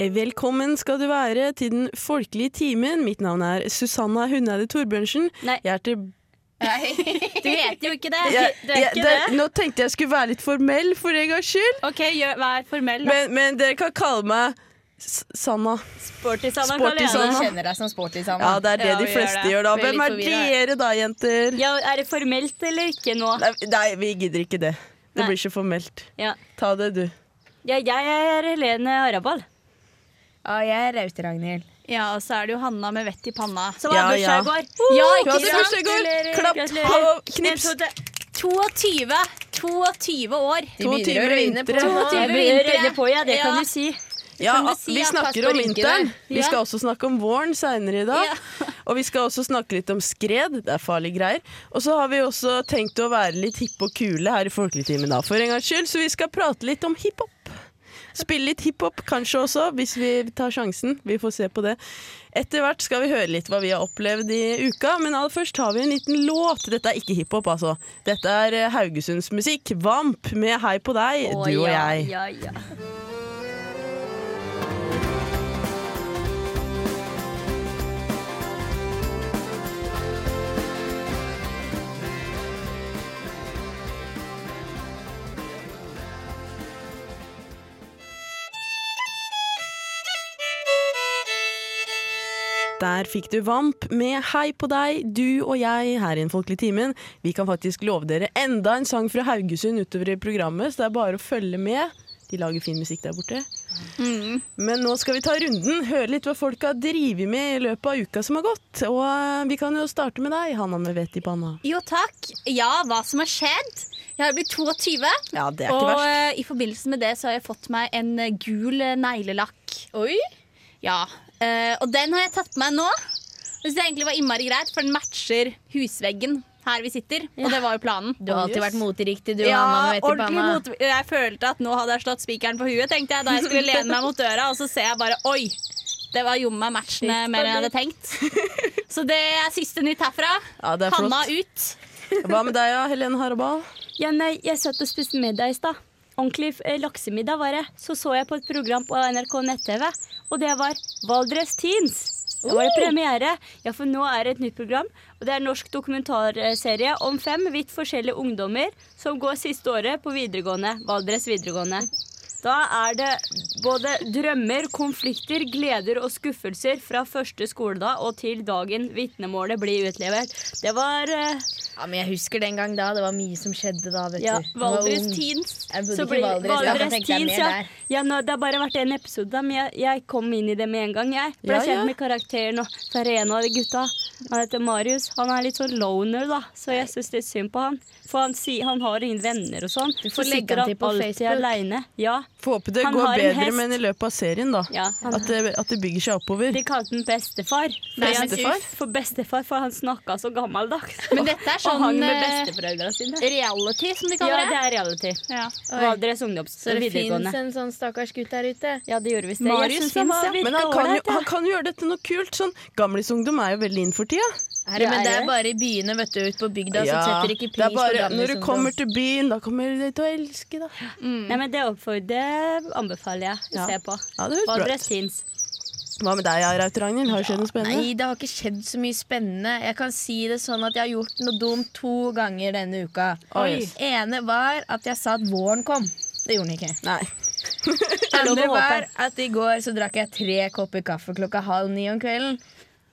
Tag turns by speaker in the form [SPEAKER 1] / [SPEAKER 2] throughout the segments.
[SPEAKER 1] Velkommen skal du være til den folkelige timen. Mitt navn er Susanna Hundeide Torbjørnsen.
[SPEAKER 2] Nei.
[SPEAKER 1] Jeg er til
[SPEAKER 2] Nei, du heter jo ikke det.
[SPEAKER 1] jeg,
[SPEAKER 2] Du er
[SPEAKER 1] jeg,
[SPEAKER 2] ikke
[SPEAKER 1] det-
[SPEAKER 2] det.
[SPEAKER 1] Nå tenkte jeg skulle være litt formell, for en gangs skyld.
[SPEAKER 2] OK, gjør, vær formell. da.
[SPEAKER 1] Men, men dere kan kalle meg S Sanna.
[SPEAKER 2] Sporty Sanna
[SPEAKER 1] Sporty
[SPEAKER 2] kaller jeg
[SPEAKER 1] Sanna.
[SPEAKER 2] det.
[SPEAKER 3] kjenner deg som sporty sammen.
[SPEAKER 1] Ja, det er det
[SPEAKER 2] Ja,
[SPEAKER 1] de
[SPEAKER 2] vi gjør
[SPEAKER 1] fleste
[SPEAKER 2] det.
[SPEAKER 1] gjør, da.
[SPEAKER 3] Blir
[SPEAKER 1] Hvem
[SPEAKER 3] litt
[SPEAKER 1] er
[SPEAKER 3] forvirret.
[SPEAKER 1] dere da, jenter?
[SPEAKER 2] Ja, er det formelt eller ikke nå?
[SPEAKER 1] Nei, nei, vi gidder ikke det. Det
[SPEAKER 2] Nei.
[SPEAKER 1] blir så formelt.
[SPEAKER 2] Ja.
[SPEAKER 1] Ta det, du.
[SPEAKER 2] Ja, jeg er Helene Harabal.
[SPEAKER 3] Ja, Ah, jeg er Raute Ragnhild.
[SPEAKER 4] Ja, og så er det jo Hanna med vett i panna.
[SPEAKER 2] Som hadde
[SPEAKER 1] Ja, ja.
[SPEAKER 2] bursdag i går.
[SPEAKER 4] Ja,
[SPEAKER 1] Hun hadde
[SPEAKER 4] sant?
[SPEAKER 1] bursdag i går.
[SPEAKER 2] Gratulerer.
[SPEAKER 1] Klapp,
[SPEAKER 2] Gratulerer.
[SPEAKER 1] hallo,
[SPEAKER 2] En,
[SPEAKER 1] knips.
[SPEAKER 2] to, tre.
[SPEAKER 4] 22, 22 år.
[SPEAKER 3] De
[SPEAKER 1] To
[SPEAKER 3] begynner
[SPEAKER 1] timer
[SPEAKER 3] å vinne
[SPEAKER 1] vintre.
[SPEAKER 3] på-
[SPEAKER 4] To timer.
[SPEAKER 2] Jeg begynner å
[SPEAKER 4] vintre.
[SPEAKER 2] rødne på, ja. Det
[SPEAKER 4] Ja.
[SPEAKER 2] kan du si.
[SPEAKER 1] Ja,
[SPEAKER 4] Kan du si
[SPEAKER 1] vi
[SPEAKER 4] at pass
[SPEAKER 1] snakker
[SPEAKER 4] på
[SPEAKER 1] om
[SPEAKER 4] rynkene?
[SPEAKER 1] vinteren. Vi
[SPEAKER 2] Ja.
[SPEAKER 1] skal også snakke om våren seinere i dag. Og vi skal også snakke litt om skred. Det er farlige greier. Og så har vi også tenkt å være litt hippe og kule her i Folkeligtimen da, for en gangs skyld. Så vi skal prate litt om hiphop. Spille litt hiphop kanskje også, hvis vi tar sjansen. Vi får se på det. Etter hvert skal vi høre litt hva vi har opplevd i uka, men aller først har vi en liten låt. Dette er ikke hiphop, altså. Dette er eh, Haugesunds musikk. Vamp med Hei på deg,
[SPEAKER 2] Å,
[SPEAKER 1] du og
[SPEAKER 2] ja,
[SPEAKER 1] jeg.
[SPEAKER 2] Ja, ja.
[SPEAKER 1] Der fikk du Vamp med Hei på deg, du og jeg her i Den folkelige timen. Vi kan faktisk love dere enda en sang fra Haugesund utover i programmet, så det er bare å følge med. De lager fin musikk der borte. Men nå skal vi ta runden, høre litt hva folk har drevet med i løpet av uka som har gått. Og eh, vi kan jo starte med deg, Hanna med vett i panna.
[SPEAKER 4] Jo, takk. Ja, hva som har skjedd? Jeg har blitt 22,
[SPEAKER 1] Ja, det er
[SPEAKER 4] og
[SPEAKER 1] ikke verst.
[SPEAKER 4] eh, i forbindelse med det så har jeg fått meg en eh, gul eh, neglelakk.
[SPEAKER 3] Oi!
[SPEAKER 4] Ja, eh, og den har jeg tatt på meg nå. Det synes jeg egentlig var innmari greit, for den matcher husveggen her vi sitter. Og det var jo planen.
[SPEAKER 3] Du har alltid vært moteriktig, du. Hanna,
[SPEAKER 4] Ja,
[SPEAKER 3] med vett i
[SPEAKER 4] ordentlig
[SPEAKER 3] panna.
[SPEAKER 4] mot Jeg følte at nå hadde jeg slått spikeren på huet, tenkte jeg da jeg skulle lene meg mot døra, og så ser jeg bare oi! Det var jommen meg matchende mer enn jeg hadde tenkt. Så det er siste nytt herfra.
[SPEAKER 1] Ja, det er
[SPEAKER 4] Hanna
[SPEAKER 1] flott.
[SPEAKER 4] ut.
[SPEAKER 1] Hva med deg, ja, Helene Harabal?
[SPEAKER 2] Ja, nei, jeg satt og spiste middag i stad. Ordentlig eh, laksemiddag var det. Så så jeg på et program på NRK nett-TV, og det var Valdres Teens. Da var det premiere. Ja, for nå er det et nytt program. Og det er en norsk dokumentarserie om fem vidt forskjellige ungdommer som går siste året på videregående. Valdres videregående. Da er det både drømmer, konflikter, gleder og skuffelser fra første skoledag og til dagen vitnemålet blir utlevert. Det var eh,
[SPEAKER 3] Ja, men jeg husker den gang da. Det var mye som skjedde da. vet
[SPEAKER 2] ja,
[SPEAKER 3] du. Jeg var
[SPEAKER 4] Valdres
[SPEAKER 3] ung.
[SPEAKER 4] Teens.
[SPEAKER 3] Jeg bodde
[SPEAKER 2] Så
[SPEAKER 3] ikke i
[SPEAKER 2] blir
[SPEAKER 3] Valdres. da, for jeg
[SPEAKER 2] Valdres
[SPEAKER 3] tenkte jeg
[SPEAKER 2] Teens,
[SPEAKER 3] mer
[SPEAKER 2] ja.
[SPEAKER 3] der.
[SPEAKER 2] ja nå, det har bare vært en episode, da, men jeg, jeg kom inn i det med en gang. Jeg ble
[SPEAKER 1] Ja, ja.
[SPEAKER 2] kjent med karakteren, og så er det en av de gutta. Han heter Marius. Han er litt sånn loner, da, så jeg syns litt synd på han. For han, sier- han har ingen venner og sånn.
[SPEAKER 3] Du får
[SPEAKER 2] så
[SPEAKER 3] legge
[SPEAKER 2] sitter
[SPEAKER 3] han til på
[SPEAKER 2] alltid
[SPEAKER 3] Facebook.
[SPEAKER 2] aleine. Ja,
[SPEAKER 1] Får håpe det
[SPEAKER 2] Han
[SPEAKER 1] går
[SPEAKER 2] har en
[SPEAKER 1] bedre,
[SPEAKER 2] hest.
[SPEAKER 1] men i løpet av serien, da.
[SPEAKER 2] ja. Han,
[SPEAKER 1] At det, at det bygger seg oppover.
[SPEAKER 2] de kalte han bestefar. fordi han-
[SPEAKER 1] Bestefar?
[SPEAKER 2] For bestefar, for han snakka så gammeldags.
[SPEAKER 4] Men dette er
[SPEAKER 2] og hang
[SPEAKER 4] sånn
[SPEAKER 2] med
[SPEAKER 4] eh,
[SPEAKER 2] besteforeldra sine.
[SPEAKER 4] reality, som de
[SPEAKER 2] Ja,
[SPEAKER 4] kaller
[SPEAKER 2] det
[SPEAKER 4] det.
[SPEAKER 2] er reality.
[SPEAKER 4] Ja.
[SPEAKER 3] Oi.
[SPEAKER 2] Valdres ungdoms
[SPEAKER 3] Så det fins
[SPEAKER 2] videregående.
[SPEAKER 3] en sånn stakkars gutt der ute.
[SPEAKER 2] Ja, det gjorde visst det.
[SPEAKER 4] Marius
[SPEAKER 2] Jeg synes han
[SPEAKER 4] finnes, ja.
[SPEAKER 1] Men
[SPEAKER 2] var virka
[SPEAKER 1] han kan, jo,
[SPEAKER 2] ålreit, ja.
[SPEAKER 1] han kan jo gjøre dette noe kult. Sånn, Gamlisungdom er jo veldig inn for tida.
[SPEAKER 3] Herre,
[SPEAKER 2] Ja,
[SPEAKER 3] men
[SPEAKER 2] er
[SPEAKER 3] det
[SPEAKER 2] det?
[SPEAKER 3] er bare i byene, vet du. Ute på bygda
[SPEAKER 1] Ja,
[SPEAKER 3] så setter ikke
[SPEAKER 1] det
[SPEAKER 3] pris
[SPEAKER 1] er bare,
[SPEAKER 3] på liksom, sånn.
[SPEAKER 1] Når du
[SPEAKER 3] gamle
[SPEAKER 1] kommer til byen, da kommer du til å elske, da.
[SPEAKER 2] Nei, men det, oppfor- det anbefaler jeg å
[SPEAKER 1] Ja.
[SPEAKER 2] se på.
[SPEAKER 1] Ja, det høres
[SPEAKER 2] Og
[SPEAKER 1] bra ut.
[SPEAKER 2] dressins.
[SPEAKER 1] Hva med deg, Raut Ragnhild? Har det skjedd noe spennende?
[SPEAKER 3] Nei, det har ikke skjedd så mye spennende. Jeg kan si det sånn at jeg har gjort noe dumt to ganger denne uka.
[SPEAKER 1] Oi. Oi.
[SPEAKER 3] Ene var at jeg sa at våren kom. Det gjorde den ikke.
[SPEAKER 1] Nei.
[SPEAKER 2] lov å
[SPEAKER 3] Andre var
[SPEAKER 2] håpe.
[SPEAKER 3] at i går så drakk jeg tre kopper kaffe klokka halv ni om kvelden.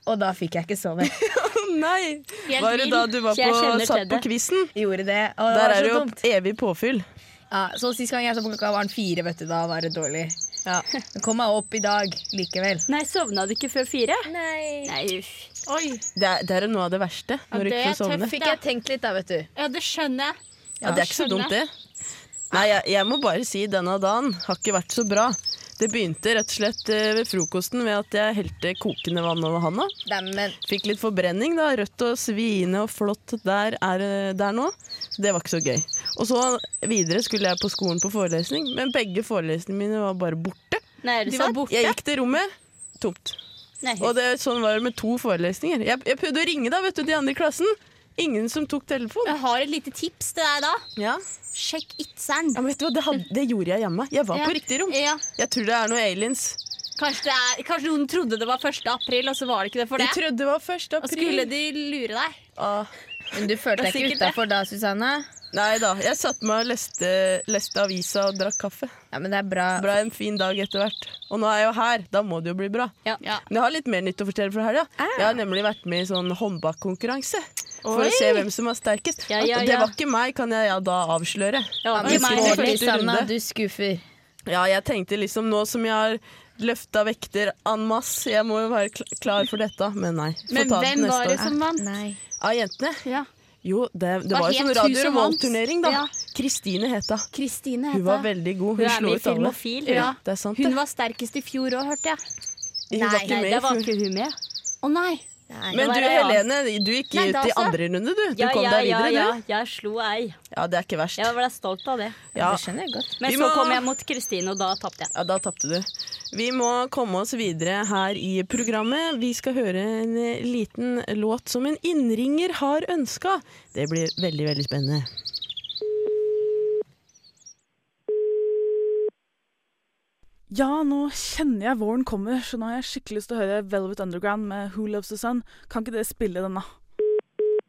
[SPEAKER 3] Og da fikk jeg ikke sove.
[SPEAKER 1] Nei.
[SPEAKER 2] Helt
[SPEAKER 1] Var det
[SPEAKER 2] vild.
[SPEAKER 1] da du var
[SPEAKER 2] Så jeg
[SPEAKER 1] på,
[SPEAKER 2] kjenner
[SPEAKER 1] satt på
[SPEAKER 2] Tedde.
[SPEAKER 1] quizen?
[SPEAKER 3] Gjorde det, og
[SPEAKER 1] Der
[SPEAKER 3] det var
[SPEAKER 1] er det
[SPEAKER 3] så
[SPEAKER 1] jo
[SPEAKER 3] dumt.
[SPEAKER 1] evig påfyll.
[SPEAKER 3] Ja, så sist gang jeg så på klokka var den fire, vet du. Da var det dårlig. Ja. Men kom meg opp i dag likevel.
[SPEAKER 2] Nei, sovna du ikke før fire?
[SPEAKER 3] Nei.
[SPEAKER 2] Nei, uff.
[SPEAKER 4] Oi.
[SPEAKER 1] Det er, det er noe av det verste. Når du
[SPEAKER 4] det
[SPEAKER 1] ikke får
[SPEAKER 4] er
[SPEAKER 1] sovne.
[SPEAKER 4] tøft.
[SPEAKER 3] Fikk jeg tenkt litt da, vet du.
[SPEAKER 4] Ja, det skjønner jeg.
[SPEAKER 1] Ja, det er ikke så dumt, det. Nei, jeg, jeg må bare si denne dagen har ikke vært så bra. Det begynte rett og slett eh, ved frokosten ved at jeg helte kokende vann over handa.
[SPEAKER 3] Neimen,
[SPEAKER 1] Fikk litt forbrenning, da. Rødt og svine og flott der, er, eh, der nå. Så det var ikke så gøy. Og så videre skulle jeg på skolen på forelesning, men begge forelesningene mine var bare borte.
[SPEAKER 2] Nei, er det
[SPEAKER 1] De var
[SPEAKER 2] sant?
[SPEAKER 1] borte. Jeg gikk til rommet, tomt.
[SPEAKER 2] Nei,
[SPEAKER 1] Og det, sånn var det med to forelesninger. Jeg, jeg prøvde å ringe da, vet du, de andre i klassen. Ingen som tok telefon.
[SPEAKER 4] Jeg har et lite tips til deg da.
[SPEAKER 1] Ja,
[SPEAKER 4] Sjekk Itzeren.
[SPEAKER 1] ja men vet du hva, det, had, det gjorde jeg hjemme. Jeg var
[SPEAKER 4] Ja.
[SPEAKER 1] på riktig rom.
[SPEAKER 4] Ja.
[SPEAKER 1] Jeg tror det er noe aliens.
[SPEAKER 4] Kanskje, det er, kanskje noen trodde det var 1. april, og så var det ikke det for
[SPEAKER 1] De
[SPEAKER 4] det.
[SPEAKER 1] trodde det var 1.
[SPEAKER 4] Og skulle
[SPEAKER 1] april.
[SPEAKER 4] de lure deg?
[SPEAKER 1] Ah.
[SPEAKER 3] Men du følte deg ikke
[SPEAKER 4] Sikkert det.
[SPEAKER 3] utafor da, Susanne?
[SPEAKER 1] Nei da. Jeg satte meg og leste, leste avisa og drakk kaffe.
[SPEAKER 3] Ja, men det er bra.
[SPEAKER 1] Det ble en fin dag etter hvert. Og nå er jeg jo her. Da må det jo bli bra.
[SPEAKER 4] Ja.
[SPEAKER 1] Men jeg har litt mer nytt å fortelle fra helga.
[SPEAKER 3] Ah.
[SPEAKER 1] Jeg har nemlig vært med i sånn håndbakkonkurranse. For å se hvem som er sterkest.
[SPEAKER 2] Ja, ja,
[SPEAKER 1] Og det
[SPEAKER 2] ja.
[SPEAKER 1] var ikke meg, kan jeg ja, da avsløre.
[SPEAKER 2] Ja,
[SPEAKER 3] Anders
[SPEAKER 2] ikke meg.
[SPEAKER 1] Vårli.
[SPEAKER 3] Baarli,
[SPEAKER 1] Første
[SPEAKER 3] Sanna,
[SPEAKER 1] runde.
[SPEAKER 3] du skuffer.
[SPEAKER 1] Ja, jeg tenkte liksom nå som jeg har løfta vekter en masse, jeg må jo være kl- klar for dette. Men nei. Få
[SPEAKER 4] Men
[SPEAKER 1] ta det
[SPEAKER 4] hvem
[SPEAKER 1] neste
[SPEAKER 4] var det
[SPEAKER 1] år.
[SPEAKER 4] som vant?
[SPEAKER 3] Nei.
[SPEAKER 1] Av jentene?
[SPEAKER 4] Ja.
[SPEAKER 1] Jo, det, det
[SPEAKER 4] Hva
[SPEAKER 1] var jo
[SPEAKER 4] het
[SPEAKER 1] sånn
[SPEAKER 4] hun som
[SPEAKER 1] Radio
[SPEAKER 4] vant?
[SPEAKER 1] Revolt-turnering, da.
[SPEAKER 4] Ja.
[SPEAKER 1] Kristine het hun.
[SPEAKER 4] Kristine
[SPEAKER 1] Hun
[SPEAKER 4] het
[SPEAKER 1] var
[SPEAKER 4] det.
[SPEAKER 1] veldig god.
[SPEAKER 2] Hun
[SPEAKER 1] Hun
[SPEAKER 2] er
[SPEAKER 1] slo
[SPEAKER 2] med
[SPEAKER 1] ut
[SPEAKER 2] i
[SPEAKER 1] alle.
[SPEAKER 2] Filmofil.
[SPEAKER 1] Ja,
[SPEAKER 4] Ja.
[SPEAKER 1] det er sant,
[SPEAKER 4] Hun
[SPEAKER 1] det.
[SPEAKER 4] var sterkest i fjor òg, hørte jeg.
[SPEAKER 1] Hun var ikke
[SPEAKER 2] Nei,
[SPEAKER 1] med
[SPEAKER 2] da
[SPEAKER 1] i
[SPEAKER 2] var
[SPEAKER 1] fjor.
[SPEAKER 2] ikke hun med.
[SPEAKER 4] Å nei!
[SPEAKER 3] Nei.
[SPEAKER 1] Men
[SPEAKER 2] Det
[SPEAKER 1] du
[SPEAKER 2] var ei annen.
[SPEAKER 1] Helene, du gikk
[SPEAKER 4] Nei,
[SPEAKER 1] ut
[SPEAKER 4] da
[SPEAKER 1] i
[SPEAKER 4] så.
[SPEAKER 1] andre runde, du. Du
[SPEAKER 2] Ja,
[SPEAKER 1] kom
[SPEAKER 2] ja,
[SPEAKER 1] deg
[SPEAKER 2] ja,
[SPEAKER 1] videre,
[SPEAKER 2] ja,
[SPEAKER 1] du.
[SPEAKER 2] jeg slo ei.
[SPEAKER 1] Ja, det er ikke verst.
[SPEAKER 2] Jeg ble stolt av det.
[SPEAKER 1] Ja.
[SPEAKER 3] Det skjønner jeg godt.
[SPEAKER 2] Men
[SPEAKER 1] Vi
[SPEAKER 2] så
[SPEAKER 1] må-
[SPEAKER 2] kom jeg mot Kristine, og da tapte jeg.
[SPEAKER 1] Ja, da tapte du. Vi må komme oss videre her i programmet. Vi skal høre en eh, liten låt som en innringer har ønska. Det blir veldig, veldig spennende.
[SPEAKER 5] Ja, nå kjenner jeg våren kommer, så nå har jeg skikkelig lyst til å høre Velvet Underground med Who Loves The Sun. Kan ikke dere spille den, da?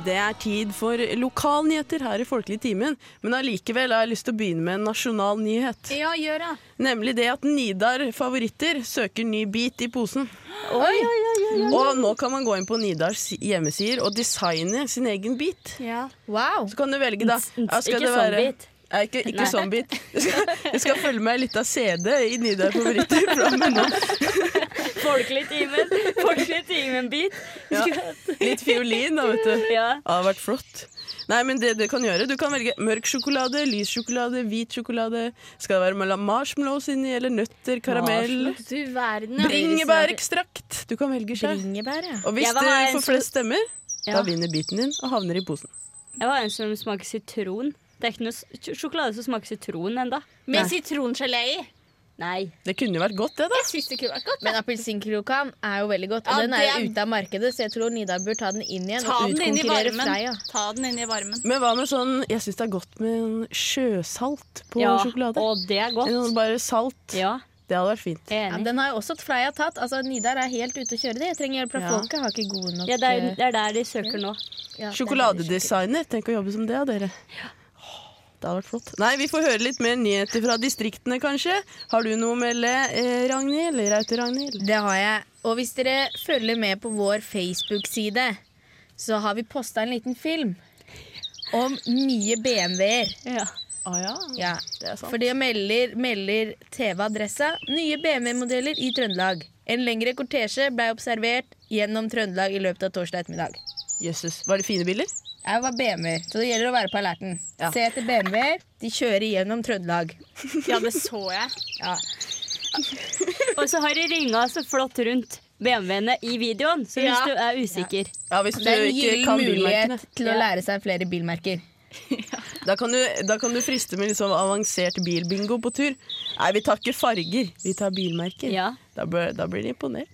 [SPEAKER 1] Det er tid for lokalnyheter her i Folkelig timen, men allikevel har jeg lyst til å begynne med en nasjonal nyhet.
[SPEAKER 4] Ja, gjør det.
[SPEAKER 1] Nemlig det at Nidar favoritter søker ny bit i posen. Og nå kan man gå inn på Nidars hjemmesider og designe sin egen bit.
[SPEAKER 4] Ja.
[SPEAKER 3] Wow.
[SPEAKER 1] Så kan du velge, da. Ja, skal
[SPEAKER 2] Ikke
[SPEAKER 1] det
[SPEAKER 2] sånn
[SPEAKER 1] være-
[SPEAKER 2] bit.
[SPEAKER 1] Nei, ikke, ikke sånn bit. Du skal, du skal følge med ei lita CD i Nidar favoritter. fra og med nå.
[SPEAKER 2] Folkelig timen. Folkelig timen-bit.
[SPEAKER 1] Ja. Litt fiolin, da, vet du. Ja,
[SPEAKER 2] Ja.
[SPEAKER 1] det har vært flott. Nei, men det Du kan gjøre Du kan velge mørk sjokolade, lys sjokolade, hvit sjokolade. Skal det være mala- marshmallows inni, eller nøtter, karamell?
[SPEAKER 4] Du verden, ja.
[SPEAKER 1] Bringebærekstrakt! Du kan velge sjøl.
[SPEAKER 3] Bringebær, ja.
[SPEAKER 1] Og hvis
[SPEAKER 2] Jeg
[SPEAKER 1] du
[SPEAKER 2] vil ha en
[SPEAKER 1] får flest stemmer, da
[SPEAKER 2] Ja.
[SPEAKER 1] vinner biten din og havner i posen.
[SPEAKER 2] Jeg var en som smaker sitron. Det er ikke noe s- sj- sjokolade som smaker sitron enda.
[SPEAKER 4] Med sitrongelé i.
[SPEAKER 2] Nei.
[SPEAKER 1] Det kunne jo vært godt, det, da.
[SPEAKER 4] Jeg syns det kunne vært godt.
[SPEAKER 3] Men appelsinkrokan er jo veldig godt, og
[SPEAKER 4] Ja,
[SPEAKER 3] den er jo
[SPEAKER 4] det-
[SPEAKER 3] ute av markedet, så jeg tror Nidar bør ta den inn
[SPEAKER 1] Altså,
[SPEAKER 3] igjen
[SPEAKER 4] Ta
[SPEAKER 3] og
[SPEAKER 4] den inn i
[SPEAKER 3] utkonkurrere
[SPEAKER 4] varmen.
[SPEAKER 3] Freia.
[SPEAKER 4] Ta den inn i varmen.
[SPEAKER 1] Men hva med sånn Jeg syns det er godt med en sjøsalt på
[SPEAKER 2] Ja,
[SPEAKER 1] sjokolade.
[SPEAKER 2] og det er
[SPEAKER 1] En
[SPEAKER 2] godt.
[SPEAKER 1] sånn bare salt.
[SPEAKER 2] Ja,
[SPEAKER 1] Det hadde vært fint.
[SPEAKER 2] jeg er
[SPEAKER 3] Ja,
[SPEAKER 2] enig.
[SPEAKER 3] den har jo også Freia tatt. Altså, Nidar er helt ute å kjøre det. Jeg trenger hjelp fra
[SPEAKER 1] Ja.
[SPEAKER 3] folket. Har ikke gode nok
[SPEAKER 2] Ja, det, er,
[SPEAKER 3] eh,
[SPEAKER 2] det er der de søker nå.
[SPEAKER 3] ja, det er veldig sjukt.
[SPEAKER 1] Sjokoladedesigner. Tenk å jobbe som det, dere. Åh, Det hadde vært flott. Nei, Vi får høre litt mer nyheter fra distriktene, kanskje. Har du noe å melde, eh, Ragnhild? Eller Raute-Ragnhild?
[SPEAKER 3] Det har jeg. Og hvis dere følger med på vår Facebook-side, så har vi posta en liten film om nye BMW-er.
[SPEAKER 2] Ja.
[SPEAKER 1] Ah, ja.
[SPEAKER 3] Ja.
[SPEAKER 1] Det er sant.
[SPEAKER 3] For det melder, melder TV-adressa nye BMW-modeller i Trøndelag. En lengre kortesje ble observert gjennom Trøndelag i løpet av torsdag ettermiddag.
[SPEAKER 1] Jøsses. Var det fine biler?
[SPEAKER 3] Jeg var BMW-er, så det gjelder å være på alerten.
[SPEAKER 1] Ja.
[SPEAKER 3] Se etter BMW-er. De kjører gjennom Trøndelag.
[SPEAKER 4] Ja, det så jeg.
[SPEAKER 3] Ja.
[SPEAKER 2] Og så har de ringa så flott rundt BMW-ene i videoen, så hvis
[SPEAKER 4] Ja.
[SPEAKER 2] du er usikker
[SPEAKER 1] Ja, hvis du
[SPEAKER 3] Det er en
[SPEAKER 1] ikke kan
[SPEAKER 3] gyllen
[SPEAKER 1] bilmerkene.
[SPEAKER 3] mulighet til å lære seg flere bilmerker.
[SPEAKER 1] Da kan, du, da kan du friste med liksom avansert bilbingo på tur. Nei, vi tar ikke farger, vi tar bilmerker.
[SPEAKER 2] Ja.
[SPEAKER 1] Da, bør, da blir de imponert.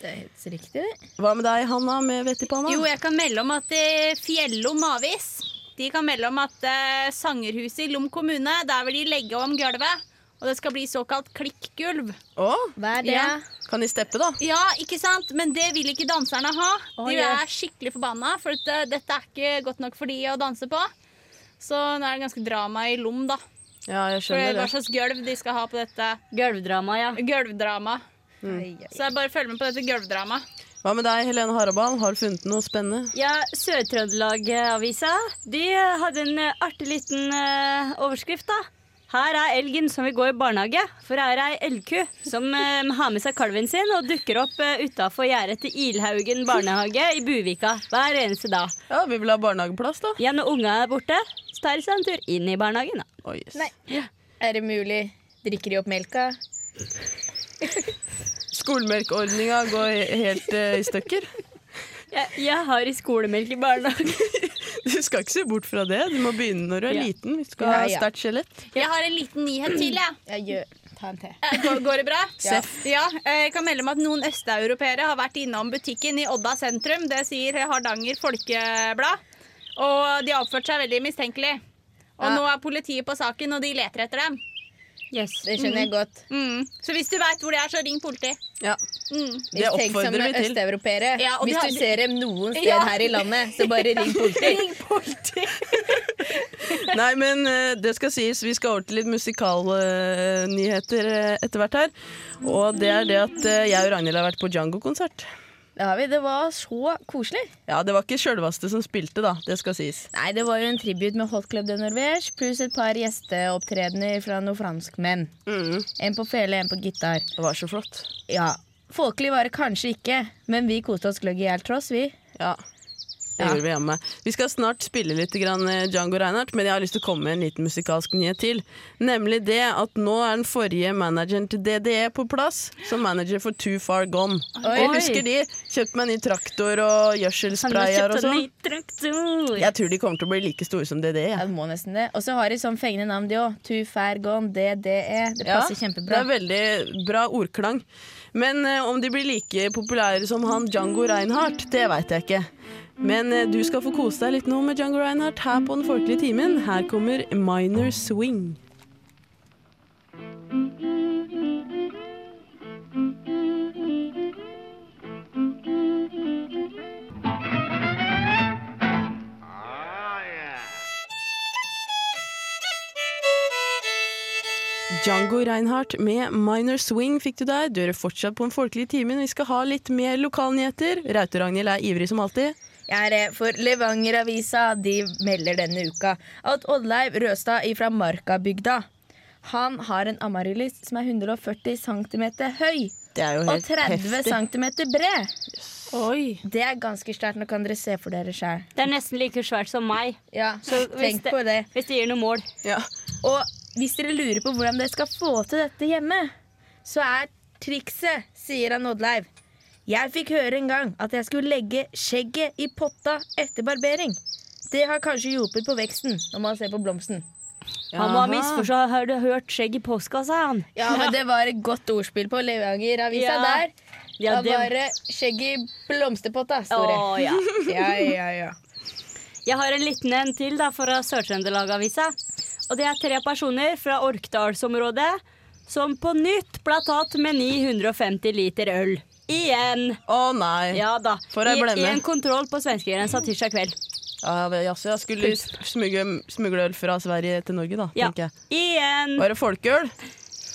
[SPEAKER 3] Det er helt riktig, det.
[SPEAKER 1] Hva med deg, Hanna, med vett i panna?
[SPEAKER 4] Jo, jeg kan melde om at eh, Fjellom avis De kan melde om at eh, Sangerhuset i Lom kommune, der vil de legge om gulvet. Og det skal bli såkalt klikkgulv.
[SPEAKER 1] Å,
[SPEAKER 3] Hva er det?
[SPEAKER 4] Ja.
[SPEAKER 1] kan de steppe, da?
[SPEAKER 4] Ja, ikke sant? Men det vil ikke danserne ha. De er skikkelig forbanna, for at, eh, dette er ikke godt nok for de å danse på. Så nå er det ganske drama i Lom, da.
[SPEAKER 1] Ja, jeg
[SPEAKER 4] For
[SPEAKER 1] skjønner
[SPEAKER 4] hva
[SPEAKER 1] det.
[SPEAKER 4] slags gulv de skal ha på dette
[SPEAKER 2] Gulvdrama, ja.
[SPEAKER 4] gulvdramaet.
[SPEAKER 3] Mm.
[SPEAKER 4] Så jeg bare følg med på dette gulvdramaet.
[SPEAKER 1] Hva med deg, Helene Harabal? Har du funnet noe spennende?
[SPEAKER 2] Ja, Sør-Trøndelag-avisa De hadde en eh, artig liten eh, overskrift da Her er elgen som vil gå i barnehage For her er ei elgku som eh, har med seg kalven sin Og dukker opp uh, utenfor gjerdet til Ilhaugen barnehage i Buvika Hver eneste dag
[SPEAKER 1] Ja, vi vil ha barnehageplass, da.
[SPEAKER 2] Ja, når unga er borte Så tar de seg en tur inn i barnehagen da
[SPEAKER 1] Å, yes.
[SPEAKER 3] Nei. Er det mulig? Drikker de opp melka?
[SPEAKER 1] Skolemelkordninga går he- helt eh, i stykker.
[SPEAKER 2] jeg, jeg har i skolemelk i barnehagen
[SPEAKER 1] Du skal ikke se bort fra det. Du må begynne når du er
[SPEAKER 2] Ja.
[SPEAKER 1] liten. Vi skal ha
[SPEAKER 3] Ja, ja.
[SPEAKER 1] sterkt skjelett.
[SPEAKER 4] Jeg har en liten nyhet til, jeg.
[SPEAKER 3] Jeg gjør ta en te.
[SPEAKER 4] Eh, Går, går det bra?
[SPEAKER 3] Ja.
[SPEAKER 4] Ja, eh, jeg kan melde om at noen østeuropeere har vært innom butikken i Odda sentrum. Det sier Hardanger Folkeblad. Og de har oppført seg veldig mistenkelig. Og
[SPEAKER 3] Ja.
[SPEAKER 4] nå er politiet på saken, og de leter etter dem.
[SPEAKER 3] Det skjønner jeg godt.
[SPEAKER 4] Mm. Så hvis du veit hvor det er, så ring politiet.
[SPEAKER 1] Ja.
[SPEAKER 4] Mm.
[SPEAKER 1] Det oppfordrer
[SPEAKER 3] Mistenksomme
[SPEAKER 1] vi til.
[SPEAKER 3] østeuropeere.
[SPEAKER 4] Ja, og de
[SPEAKER 3] Hvis
[SPEAKER 4] har-
[SPEAKER 3] du ser dem noen sted
[SPEAKER 4] Ja.
[SPEAKER 3] her i landet, så bare ring politiet.
[SPEAKER 1] Nei, men eh, det skal sies, vi skal over til litt musikalnyheter etter hvert her. Og det er det at eh, jeg og Ragnhild har vært på Django-konsert.
[SPEAKER 3] Det har vi. Det var så koselig.
[SPEAKER 1] Ja, det var ikke sjølvaste som spilte, da. Det skal sies.
[SPEAKER 3] Nei, det var jo en tribute med Hot Club de Norvège pluss et par gjesteopptredener fra noen franskmenn. En på fele, en på gitar.
[SPEAKER 1] Det var så flott.
[SPEAKER 3] Ja, Folkelig var det kanskje ikke, men vi koste oss gløgg i hjel tross, vi.
[SPEAKER 1] Ja. Det
[SPEAKER 3] Ja.
[SPEAKER 1] gjorde vi jammen meg. Vi skal snart spille litt grann eh, Django Reinhardt, men jeg har lyst til å komme med en liten musikalsk nyhet til. Nemlig det at nå er den forrige manageren til DDE på plass, som manager for Too Far Gone.
[SPEAKER 3] Oi.
[SPEAKER 1] Og husker de? Kjøpte meg en ny traktor og
[SPEAKER 2] Han har
[SPEAKER 1] gjødselsprayer
[SPEAKER 2] kjøpt
[SPEAKER 1] og
[SPEAKER 2] en ny
[SPEAKER 1] sånn.
[SPEAKER 2] traktor.
[SPEAKER 1] Jeg tror de kommer til å bli like store som DDE.
[SPEAKER 3] Ja,
[SPEAKER 1] jeg.
[SPEAKER 3] det må nesten det. Og så har de sånn fengende navn, de òg. Too fair gone, DDE. E. Det passer
[SPEAKER 1] Det
[SPEAKER 3] kjempebra.
[SPEAKER 1] er veldig bra ordklang. Men eh, om de blir like populære som han Django Reinhardt, det veit jeg ikke. Men eh, du skal få kose deg litt nå med Django Reinhardt her på Den folkelige timen. Her kommer Minor Swing. Django Reinhardt med Minor Swing fikk du der. Du hører fortsatt på Den folkelige timen. Vi skal ha litt mer lokalnyheter. Rauter-Ragnhild er ivrig som alltid.
[SPEAKER 3] Jeg er eh, for Levanger-avisa. De melder denne uka at Oddleiv Røstad ifra Markabygda Han har en amaryllis som er 140 cm høy
[SPEAKER 1] Det er jo
[SPEAKER 3] og 30 cm bred.
[SPEAKER 4] Oi.
[SPEAKER 3] Det er ganske sterkt. Nå kan dere se for dere sjøl.
[SPEAKER 2] Det er nesten like svært som meg,
[SPEAKER 3] Ja,
[SPEAKER 2] hvis
[SPEAKER 3] tenk
[SPEAKER 2] det-
[SPEAKER 3] på det.
[SPEAKER 2] hvis det gir noe mål.
[SPEAKER 1] Ja.
[SPEAKER 3] Og hvis dere lurer på hvordan dere skal få til dette hjemme, så er trikset, sier han Oddleiv. Jeg fikk høre en gang at jeg skulle legge skjegget i potta etter barbering. Det har kanskje hjulpet på veksten, når man ser på blomsten.
[SPEAKER 2] Han må ha
[SPEAKER 1] Jaha.
[SPEAKER 2] misforstått. Har du hørt skjegg i postkassa, han?
[SPEAKER 3] Ja, men det var et godt ordspill på Levanger-avisa
[SPEAKER 2] Ja.
[SPEAKER 3] der.
[SPEAKER 2] Ja,
[SPEAKER 3] det
[SPEAKER 2] det-
[SPEAKER 3] var bare skjegget i blomsterpotta,
[SPEAKER 2] Å,
[SPEAKER 3] står det.
[SPEAKER 2] ja.
[SPEAKER 3] Ja, ja, ja.
[SPEAKER 2] Jeg har en liten en til da, fra Sør-Trøndelag-avisa. Og det er tre personer fra Orkdalsområdet som på nytt ble tatt med 950 liter øl. Igjen.
[SPEAKER 1] Å nei. Ja,
[SPEAKER 2] Ja da.
[SPEAKER 1] For ei
[SPEAKER 2] I,
[SPEAKER 1] Eh, blemme.
[SPEAKER 2] I en kontroll på svenskegrensa tirsdag kveld.
[SPEAKER 1] det- jaså, jeg skulle smugle, smugle øl fra Sverige til Norge, da,
[SPEAKER 2] Ja.
[SPEAKER 1] tenker jeg.
[SPEAKER 2] Igjen.
[SPEAKER 1] Var det folkeøl?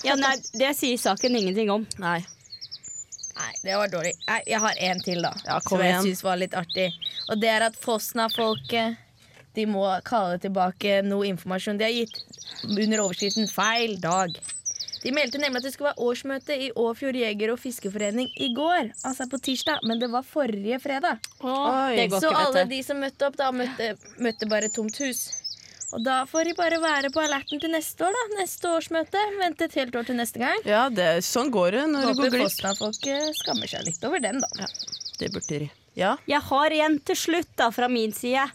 [SPEAKER 2] Ja, nei, det sier saken ingenting om.
[SPEAKER 1] Nei.
[SPEAKER 3] Nei, det var dårlig. Nei, jeg har en til, da.
[SPEAKER 1] Ja, kom
[SPEAKER 3] som jeg
[SPEAKER 1] igjen.
[SPEAKER 3] syns var litt artig. Og det er at Fosna-folket De må kalle tilbake noe informasjon de har gitt under overskriften 'Feil dag'. De meldte nemlig at det skulle være årsmøte i Åfjord jeger- og fiskeforening i går. Altså på tirsdag, men det var forrige fredag.
[SPEAKER 1] Oi.
[SPEAKER 2] det går
[SPEAKER 3] Så
[SPEAKER 2] ikke,
[SPEAKER 3] alle
[SPEAKER 2] vet du.
[SPEAKER 3] de som møtte opp, da møtte, møtte bare tomt hus. Og da får de bare være på alerten til neste år, da. Neste årsmøte. Vente et helt år til neste gang.
[SPEAKER 1] Ja, det, sånn går det når du går
[SPEAKER 3] Håper
[SPEAKER 1] glipp.
[SPEAKER 3] Fosna-folket skammer seg litt over den, da.
[SPEAKER 1] Det burde de. Ja.
[SPEAKER 2] Jeg har en til slutt da, fra min side,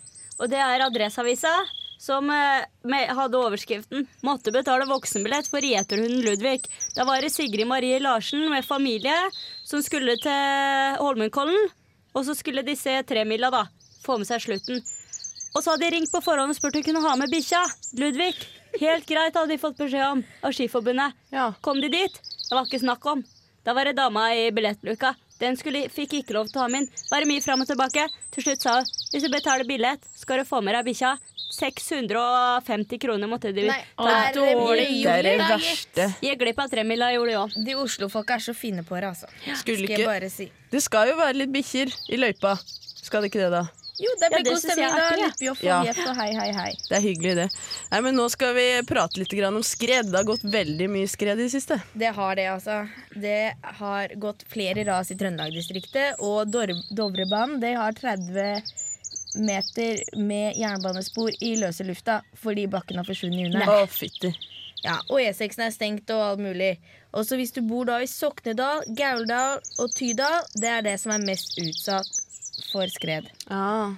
[SPEAKER 2] og det er Adresseavisa. Som eh, med, hadde overskriften 'Måtte betale voksenbillett for gjeterhunden Ludvig'. Da var det Sigrid Marie Larsen med familie som skulle til Holmenkollen. Og så skulle disse tremila da få med seg slutten. Og så hadde de ringt på forhånd og spurt om de kunne ha med bikkja. Ludvig. Helt greit, hadde de fått beskjed om av Skiforbundet.
[SPEAKER 1] Ja.
[SPEAKER 2] Kom de dit? Det var ikke snakk om. Da var det dama i billettluka. Den skulle, fikk ikke lov til å ha med inn. Bare mye fram og tilbake. Til slutt sa hun hvis du betaler billett, skal du få med deg bikkja. 650 kroner måtte de
[SPEAKER 3] Nei,
[SPEAKER 2] ta.
[SPEAKER 3] det er dårlig
[SPEAKER 1] Det er det
[SPEAKER 3] juli.
[SPEAKER 1] verste.
[SPEAKER 2] Gikk glipp av tremila, gjorde de òg.
[SPEAKER 3] De Oslo-folka er så fine på det, altså.
[SPEAKER 1] Skulle
[SPEAKER 3] Skal jeg
[SPEAKER 1] ikke
[SPEAKER 3] bare si.
[SPEAKER 1] Det skal jo være litt bikkjer i løypa. Skal det ikke det, da?
[SPEAKER 3] Jo, det
[SPEAKER 2] Ja,
[SPEAKER 3] blir
[SPEAKER 2] det
[SPEAKER 3] god
[SPEAKER 2] synes
[SPEAKER 3] stemning
[SPEAKER 2] jeg er
[SPEAKER 3] da.
[SPEAKER 2] artig, ja.
[SPEAKER 3] Lippjoff
[SPEAKER 1] Ja.
[SPEAKER 3] og Jeff og hei, hei, hei.
[SPEAKER 1] Det er hyggelig, det. Nei, men Nå skal vi prate litt grann om skred. Det har gått veldig mye skred i det siste.
[SPEAKER 3] Det har det, altså. Det har gått flere ras i Trøndelag-distriktet, og Dor Dovrebanen det har 30 meter med jernbanespor i løse lufta fordi bakken har forsvunnet
[SPEAKER 1] Å,
[SPEAKER 3] under.
[SPEAKER 1] fytti.
[SPEAKER 3] Ja, og E6-en er stengt og alt mulig. Også hvis du bor da i Soknedal, Gauldal og Tydal, det er det som er mest utsatt for skred.
[SPEAKER 1] Ah.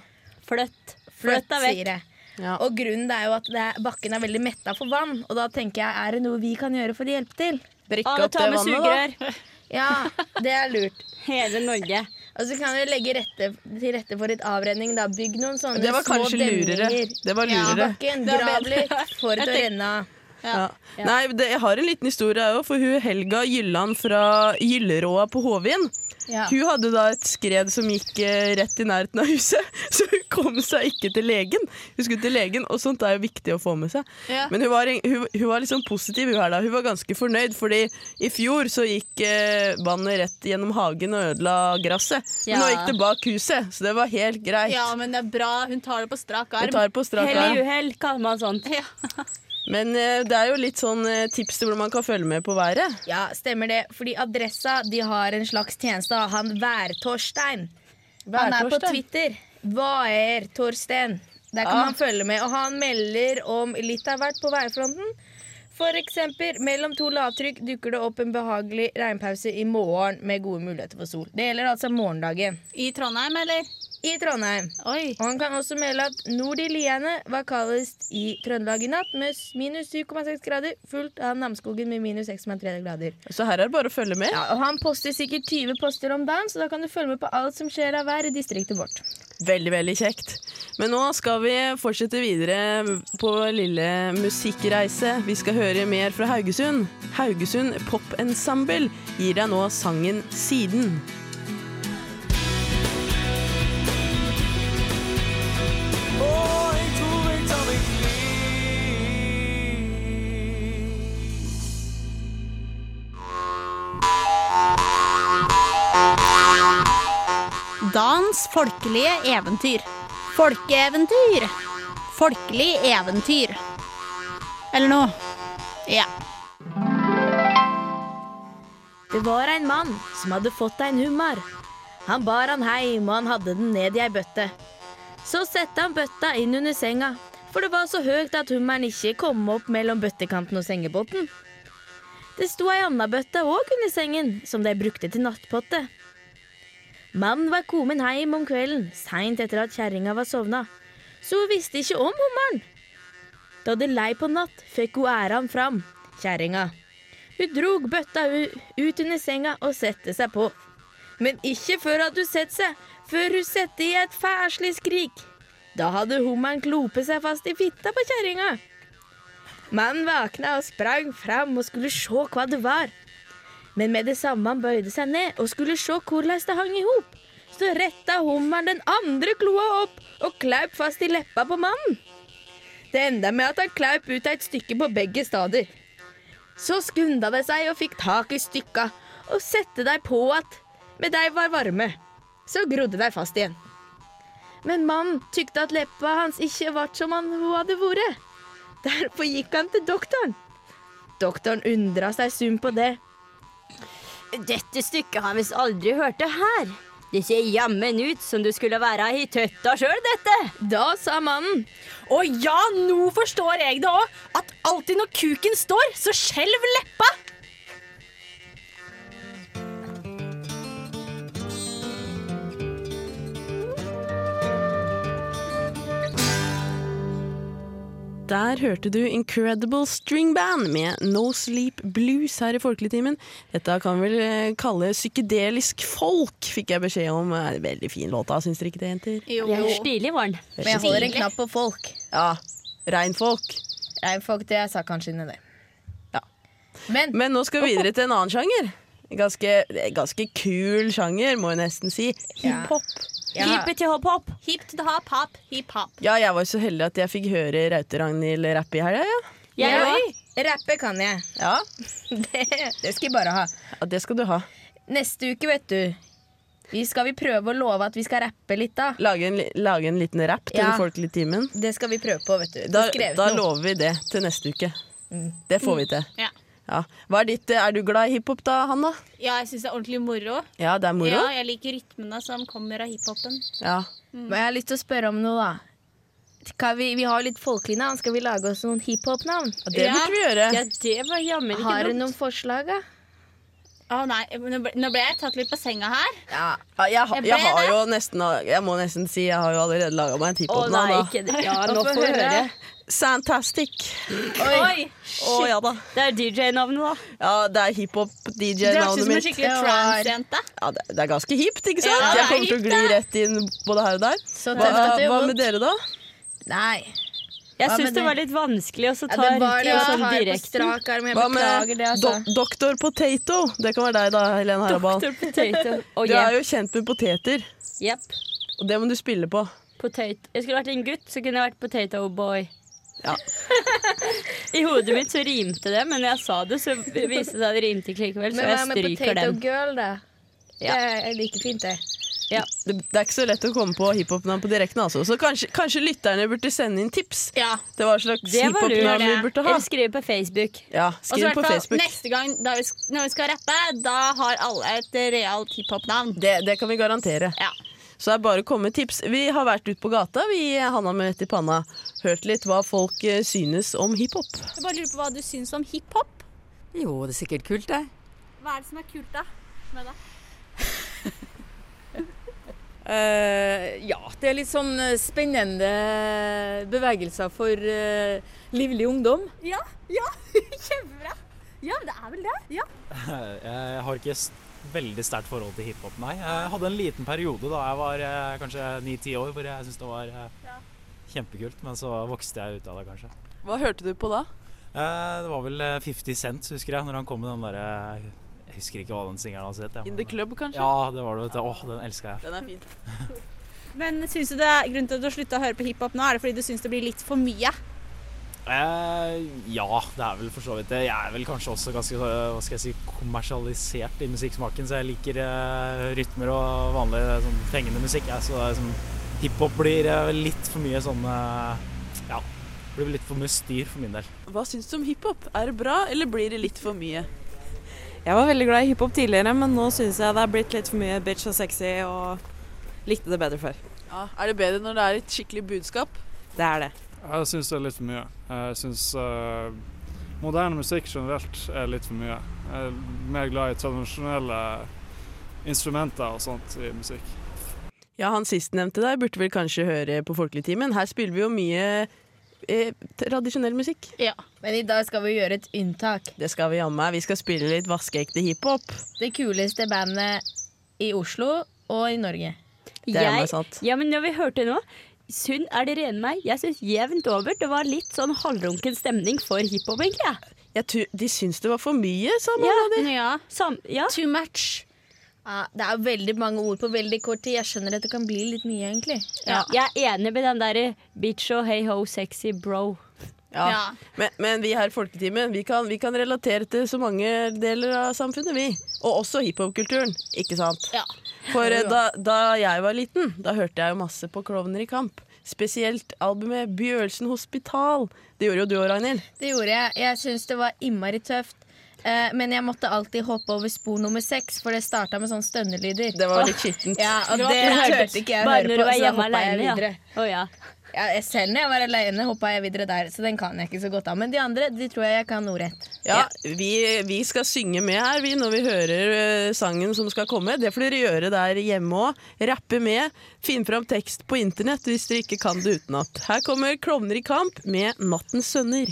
[SPEAKER 2] Flytt. Flytt
[SPEAKER 3] Fløtt,
[SPEAKER 2] deg vekk.
[SPEAKER 3] sier jeg.
[SPEAKER 1] Ja.
[SPEAKER 3] Og grunnen det er jo at det er, bakken er veldig metta for vann, og da tenker jeg, er det noe vi kan gjøre for å hjelpe til? Drikke
[SPEAKER 2] Alle
[SPEAKER 3] opp det
[SPEAKER 2] tar med
[SPEAKER 3] vannet, da.
[SPEAKER 2] sugerør.
[SPEAKER 3] Ja, det er lurt.
[SPEAKER 2] Hele Norge.
[SPEAKER 3] Og så kan vi legge rette, til rette for litt avrenning. da Bygg noen sånne
[SPEAKER 1] Det var
[SPEAKER 3] små
[SPEAKER 1] kanskje lurere.
[SPEAKER 3] demninger.
[SPEAKER 1] Det var
[SPEAKER 4] Ja,
[SPEAKER 1] lurere.
[SPEAKER 4] Det
[SPEAKER 3] Bakken,
[SPEAKER 4] var
[SPEAKER 3] grav
[SPEAKER 4] bedre.
[SPEAKER 3] litt, får det til å renne av.
[SPEAKER 1] Ja. Nei, det, jeg har en liten historie her også, for hun Helga Gylland fra Gylleråa på Hovin.
[SPEAKER 3] Ja.
[SPEAKER 1] Hun hadde da et skred som gikk eh, rett i nærheten av huset, så hun kom seg ikke til legen. Hun skulle til legen, og sånt er jo viktig å få med seg.
[SPEAKER 4] Ja.
[SPEAKER 1] Men hun var, en- hun, hun var liksom positiv hun her da. Hun var ganske fornøyd, fordi i fjor så gikk eh, vannet rett gjennom hagen og ødela gresset. Men nå
[SPEAKER 4] Ja.
[SPEAKER 1] gikk det bak huset, så det var helt greit.
[SPEAKER 4] ja, men det er bra. Hun tar det på strak
[SPEAKER 1] Jeg
[SPEAKER 4] arm.
[SPEAKER 1] tar på strak
[SPEAKER 2] Hell i
[SPEAKER 1] arm.
[SPEAKER 2] uhell, kaller man sånt.
[SPEAKER 4] Ja.
[SPEAKER 1] Men eh, det er jo litt sånn eh, tips til hvordan man kan følge med på været.
[SPEAKER 3] Ja, stemmer det. Fordi Adressa de har en slags tjeneste av han Vær-Torstein. Han er på
[SPEAKER 1] Værtorstein.
[SPEAKER 3] Twitter. Vær-Torstein. Der kan
[SPEAKER 1] Ah.
[SPEAKER 3] man følge med. Og han melder om litt av hvert på værfronten. For eksempel, mellom to lavtrykk dukker det opp en behagelig regnpause i morgen med gode muligheter for sol. Det gjelder altså morgendagen
[SPEAKER 4] I Trondheim, eller?
[SPEAKER 3] i Trondheim.
[SPEAKER 4] Oi.
[SPEAKER 3] Og han kan også melde at nord i Liene var kaldest i Trøndelag i natt, med s- minus 7,6 grader, fulgt av Namsskogen med minus 6,3 grader.
[SPEAKER 1] Så her er det bare å følge med.
[SPEAKER 3] Ja, og Han poster sikkert 20 poster om dagen, så da kan du følge med på alt som skjer av vær i distriktet vårt.
[SPEAKER 1] Veldig, veldig kjekt. Men nå skal vi fortsette videre på lille musikkreise. Vi skal høre mer fra Haugesund. Haugesund Pop Ensemble gir deg nå sangen 'Siden'.
[SPEAKER 4] Dans folkelige eventyr. Folkeeventyr. Folkelig eventyr. Eller noe. Ja.
[SPEAKER 3] Det var en mann som hadde fått en hummer. Han bar han heim, og han hadde den ned i ei bøtte. Så sette han bøtta inn under senga, for det var så høyt at hummeren ikke kom opp mellom bøttekanten og sengebåten. Det sto ei anna bøtte òg under sengen, som de brukte til nattpotte. Mannen var kommet heim om kvelden, seint etter at kjerringa var sovna, så hun visste ikke om hummeren. Da det lei på natt, fikk hun æran fram, kjerringa. Hun drog bøtta u- ut under senga og sette seg på. Men ikke før at hun sett seg, før hun sette i et fæslig skrik. Da hadde hummeren klopet seg fast i fitta på kjerringa. Mannen vakna og sprang fram og skulle se hva det var. Men med det samme han bøyde seg ned og skulle se hvordan det hang i hop, så retta hummeren den andre kloa opp og klaup fast i leppa på mannen. Det enda med at han klaup ut et stykke på begge stader. Så skunda de seg og fikk tak i stykka og sette dei på att, men de var varme. Så grodde de fast igjen. Men mannen tykte at leppa hans ikke vart som han hun hadde vært. Derfor gikk han til doktoren. Doktoren undra seg sum på det.
[SPEAKER 2] Dette stykket har visst aldri hørt det her. Det ser jammen ut som du skulle være i tøtta sjøl, dette.
[SPEAKER 3] Da sa mannen
[SPEAKER 4] Å ja, nå forstår jeg det òg. At alltid når kuken står, så skjelv leppa.
[SPEAKER 1] Der hørte du Incredible String Band med No Sleep Blues her i Folkeligtimen. Dette kan vi vel eh, kalle psykedelisk folk, fikk jeg beskjed om. Det er en veldig fin låt, da, syns dere ikke det, jenter?
[SPEAKER 4] Jo.
[SPEAKER 2] Det er stilig, var den.
[SPEAKER 3] Men jeg holder en knapp på folk.
[SPEAKER 1] Ja, reinfolk.
[SPEAKER 3] Nei, folk, det jeg sa kanskje inni det.
[SPEAKER 1] Ja.
[SPEAKER 3] Men
[SPEAKER 1] Men nå skal vi videre til en annen sjanger. Ganske, ganske kul sjanger, må jeg nesten si. Hiphop.
[SPEAKER 3] jeg har-
[SPEAKER 2] Hippet til hopp-hopp.
[SPEAKER 4] Hip to the hop, hop, hip hop.
[SPEAKER 1] Ja, jeg var så heldig at jeg fikk høre Raute-Ragnhild rappe i helga, ja.
[SPEAKER 2] Jeg òg.
[SPEAKER 3] rappe kan jeg.
[SPEAKER 1] ja.
[SPEAKER 3] Det, det skal jeg bare ha.
[SPEAKER 1] Ja, det skal du ha.
[SPEAKER 3] Neste uke, vet du, vi skal vi prøve å love at vi skal rappe litt da.
[SPEAKER 1] Lage en, li- lage en liten rapp til
[SPEAKER 3] Ja.
[SPEAKER 1] den folkelige timen.
[SPEAKER 3] Det skal vi prøve på, vet du. Få
[SPEAKER 1] Da,
[SPEAKER 3] skrevet
[SPEAKER 1] da
[SPEAKER 3] noe. Mm.
[SPEAKER 1] lover vi det til neste uke. Det får vi til.
[SPEAKER 4] Ja.
[SPEAKER 1] Ja. Hva er ditt Er du glad i hiphop da, Hanna?
[SPEAKER 4] ja, jeg syns det er ordentlig moro.
[SPEAKER 1] Ja, det er moro?
[SPEAKER 4] Ja, jeg liker rytmene som kommer av hiphopen.
[SPEAKER 1] Ja.
[SPEAKER 3] Men Mm. jeg har lyst til å spørre om noe, da. Skal vi, vi har litt folkelige navn. Skal vi lage oss noen hiphop-navn?
[SPEAKER 1] Og det
[SPEAKER 4] Ja.
[SPEAKER 1] burde vi gjøre.
[SPEAKER 2] Ja, det var jammen ikke
[SPEAKER 3] Har du
[SPEAKER 2] dumt.
[SPEAKER 3] noen forslag, da?
[SPEAKER 4] Å nei, nå ble, nå ble jeg tatt litt på senga her.
[SPEAKER 1] Ja, jeg, ha-
[SPEAKER 4] Jeg ble
[SPEAKER 1] jeg har
[SPEAKER 4] det.
[SPEAKER 1] jo nesten Jeg må nesten si jeg har jo allerede laga meg en
[SPEAKER 2] Å nei,
[SPEAKER 1] hiphop-navn. da.
[SPEAKER 2] ikke det. Ja, nå
[SPEAKER 3] Å, få
[SPEAKER 2] får vi høre.
[SPEAKER 1] Santastic.
[SPEAKER 4] Oi!
[SPEAKER 1] Å ja da.
[SPEAKER 2] Det er DJ-navnet, da.
[SPEAKER 1] Ja, det er
[SPEAKER 4] Det høres ut
[SPEAKER 1] hiphop-DJ-navnet
[SPEAKER 4] som en
[SPEAKER 1] mitt.
[SPEAKER 4] skikkelig
[SPEAKER 3] Det var-
[SPEAKER 4] transjente.
[SPEAKER 1] Ja, det, det er ganske hipt, ikke sant?
[SPEAKER 4] Ja, det er
[SPEAKER 1] jeg kommer til å
[SPEAKER 4] hipt,
[SPEAKER 1] gli rett inn både her og der.
[SPEAKER 3] Så
[SPEAKER 1] Hva,
[SPEAKER 3] tøft at det
[SPEAKER 1] hva
[SPEAKER 3] gjør
[SPEAKER 1] med
[SPEAKER 3] vondt.
[SPEAKER 1] dere, da?
[SPEAKER 3] Nei.
[SPEAKER 2] Jeg
[SPEAKER 3] Hva
[SPEAKER 2] syns
[SPEAKER 3] med
[SPEAKER 2] det
[SPEAKER 3] det?
[SPEAKER 2] var litt vanskelig å så
[SPEAKER 3] Ja,
[SPEAKER 2] ta
[SPEAKER 3] det var
[SPEAKER 2] riktig og
[SPEAKER 3] det jeg
[SPEAKER 2] sånn
[SPEAKER 3] har på
[SPEAKER 2] direkte.
[SPEAKER 3] strak arm. Jeg
[SPEAKER 1] Hva med
[SPEAKER 3] beklager det, altså.
[SPEAKER 1] dok Doktor Potato? Det kan være deg, da, Helene Harabal.
[SPEAKER 2] Dr. Potato. Oh,
[SPEAKER 1] Du er
[SPEAKER 2] yeah.
[SPEAKER 1] jo kjent med poteter,
[SPEAKER 2] Jepp.
[SPEAKER 1] og det må du spille på.
[SPEAKER 2] Potato. Jeg skulle vært en gutt, så kunne jeg vært potato boy.
[SPEAKER 1] Ja.
[SPEAKER 2] I hodet mitt så rimte det, men jeg sa det, så viste det seg at det rimte ikke likevel. Så
[SPEAKER 3] Men hva
[SPEAKER 2] jeg
[SPEAKER 3] med
[SPEAKER 2] stryker
[SPEAKER 3] Potato
[SPEAKER 2] den.
[SPEAKER 3] Girl, da?
[SPEAKER 2] Ja.
[SPEAKER 3] Det er like fint, det.
[SPEAKER 1] Det, det er ikke så lett å komme på hiphop-navn på direkten, altså. Så kanskje, kanskje lytterne burde sende inn tips
[SPEAKER 4] Ja.
[SPEAKER 1] til hva slags
[SPEAKER 2] Det var lurt.
[SPEAKER 1] hiphop-navn vi burde ha.
[SPEAKER 2] Eller skrive på Facebook.
[SPEAKER 1] Ja,
[SPEAKER 4] Og så i
[SPEAKER 1] skriv
[SPEAKER 4] hvert
[SPEAKER 1] på
[SPEAKER 4] fall
[SPEAKER 1] Facebook.
[SPEAKER 4] Neste gang da vi, sk- når vi skal rappe, da har alle et realt hiphop-navn.
[SPEAKER 1] Det, det kan vi garantere.
[SPEAKER 4] Ja.
[SPEAKER 1] Så det er bare å komme med tips. Vi har vært ute på gata, vi Hanna med rett i panna. Hørt litt hva folk eh, synes om hiphop.
[SPEAKER 4] Jeg bare lurer på hva du syns om hiphop.
[SPEAKER 6] Jo, det er sikkert kult, det.
[SPEAKER 4] Hva er det som er kult, da? Med det?
[SPEAKER 7] Eh, ja, det er litt sånn eh, spennende bevegelser for eh, livlig ungdom.
[SPEAKER 4] Ja, ja, kjempebra. Ja, det er vel det. Ja.
[SPEAKER 8] Eh, Jeg har ikke s- veldig sterkt forhold til hiphop, nei. Jeg hadde en liten periode da jeg var eh, kanskje ni-ti år, hvor jeg syntes det var eh, kjempekult. Men så vokste jeg ut av det, kanskje.
[SPEAKER 5] Hva hørte du på da?
[SPEAKER 8] Eh, Det var vel eh, 50 Cent, husker jeg, når han kom med den derre Jeg husker ikke hva den singelen hans het. jeg,
[SPEAKER 5] In the
[SPEAKER 8] men-
[SPEAKER 5] club, kanskje?
[SPEAKER 8] Ja, det var det, vet du. Åh, den elska jeg.
[SPEAKER 5] Den er fin.
[SPEAKER 4] Men syns du det er grunnen til at du har slutta å høre på hiphop nå? Er det fordi du syns det blir litt for mye?
[SPEAKER 8] Eh, ja, det er vel for så vidt det. Jeg er vel kanskje også ganske eh, hva skal jeg si, kommersialisert i musikksmaken, så jeg liker eh, rytmer og vanlig eh, sånn, fengende musikk. Jeg, så det er sånn, hiphop blir eh, litt for mye sånn eh, Ja, blir litt for mye styr for min del.
[SPEAKER 5] Hva syns du om hiphop? Er det bra, eller blir det litt for mye?
[SPEAKER 9] Jeg var veldig glad i hiphop tidligere, men nå syns jeg det er blitt litt for mye bitch og sexy, og likte det bedre før.
[SPEAKER 5] Ja, er det bedre når det er et skikkelig budskap?
[SPEAKER 9] Det er det.
[SPEAKER 10] Jeg syns det er litt for mye. Jeg syns moderne musikk generelt er litt for mye. Jeg er mer glad i tradisjonelle instrumenter og sånt i musikk.
[SPEAKER 1] Ja, han sistnevnte der burde vel kanskje høre på Folkeligtimen. Her spiller vi jo mye eh, tradisjonell musikk.
[SPEAKER 3] Men i dag skal vi gjøre et unntak.
[SPEAKER 1] Det skal vi jammen. Vi skal spille litt vaskeekte hiphop.
[SPEAKER 3] Det kuleste bandet i Oslo og i Norge.
[SPEAKER 1] Det er meg
[SPEAKER 2] Jeg,
[SPEAKER 1] sant.
[SPEAKER 2] ja, men når vi hørte nå Sunn er det rene meg. Jeg syns jevnt over det var litt sånn halvrunken stemning for hiphop, egentlig. jeg.
[SPEAKER 1] Jeg tror, de syns det var for mye, sa man.
[SPEAKER 2] Ja.
[SPEAKER 4] Ja.
[SPEAKER 2] Sam, ja.
[SPEAKER 4] Too much.
[SPEAKER 3] Ja, det er veldig mange ord på veldig kort tid. Jeg skjønner at det kan bli litt mye, egentlig.
[SPEAKER 2] Ja. Jeg er enig med den derre bitch og hey ho sexy bro.
[SPEAKER 1] Ja.
[SPEAKER 4] Ja.
[SPEAKER 1] Men, men vi her i Folketimen vi kan, vi kan relatere til så mange deler av samfunnet, vi. Og også hiphop-kulturen, ikke sant?
[SPEAKER 4] Ja.
[SPEAKER 1] For eh, da, da jeg var liten, da hørte jeg jo masse på Klovner i kamp. Spesielt albumet Bjørelsen Hospital. Det gjorde jo du òg, Ragnhild.
[SPEAKER 3] Det gjorde jeg. Jeg syns det var innmari tøft. Eh, men jeg måtte alltid hoppe over spor nummer seks, for det starta med sånne stønnelyder.
[SPEAKER 1] Det var litt skittent.
[SPEAKER 3] Ja, og det
[SPEAKER 2] flaut.
[SPEAKER 3] turte ikke jeg å
[SPEAKER 2] Bare
[SPEAKER 3] høre
[SPEAKER 2] når du
[SPEAKER 3] på,
[SPEAKER 2] var
[SPEAKER 3] så
[SPEAKER 2] hjemme
[SPEAKER 3] hoppa jeg
[SPEAKER 2] aleine,
[SPEAKER 3] videre.
[SPEAKER 2] ja. Å ja.
[SPEAKER 3] Ja, jeg- selv når jeg var alene, hoppa jeg videre der, så den kan jeg ikke så godt av. Men de andre de tror jeg jeg kan ordrett.
[SPEAKER 1] Ja, vi, vi skal synge med her vi, når vi hører eh, sangen som skal komme. Det får dere gjøre der hjemme òg. Rappe med. Finn fram tekst på internett hvis dere ikke kan det utenat. Her kommer Klovner i kamp med Nattens sønner.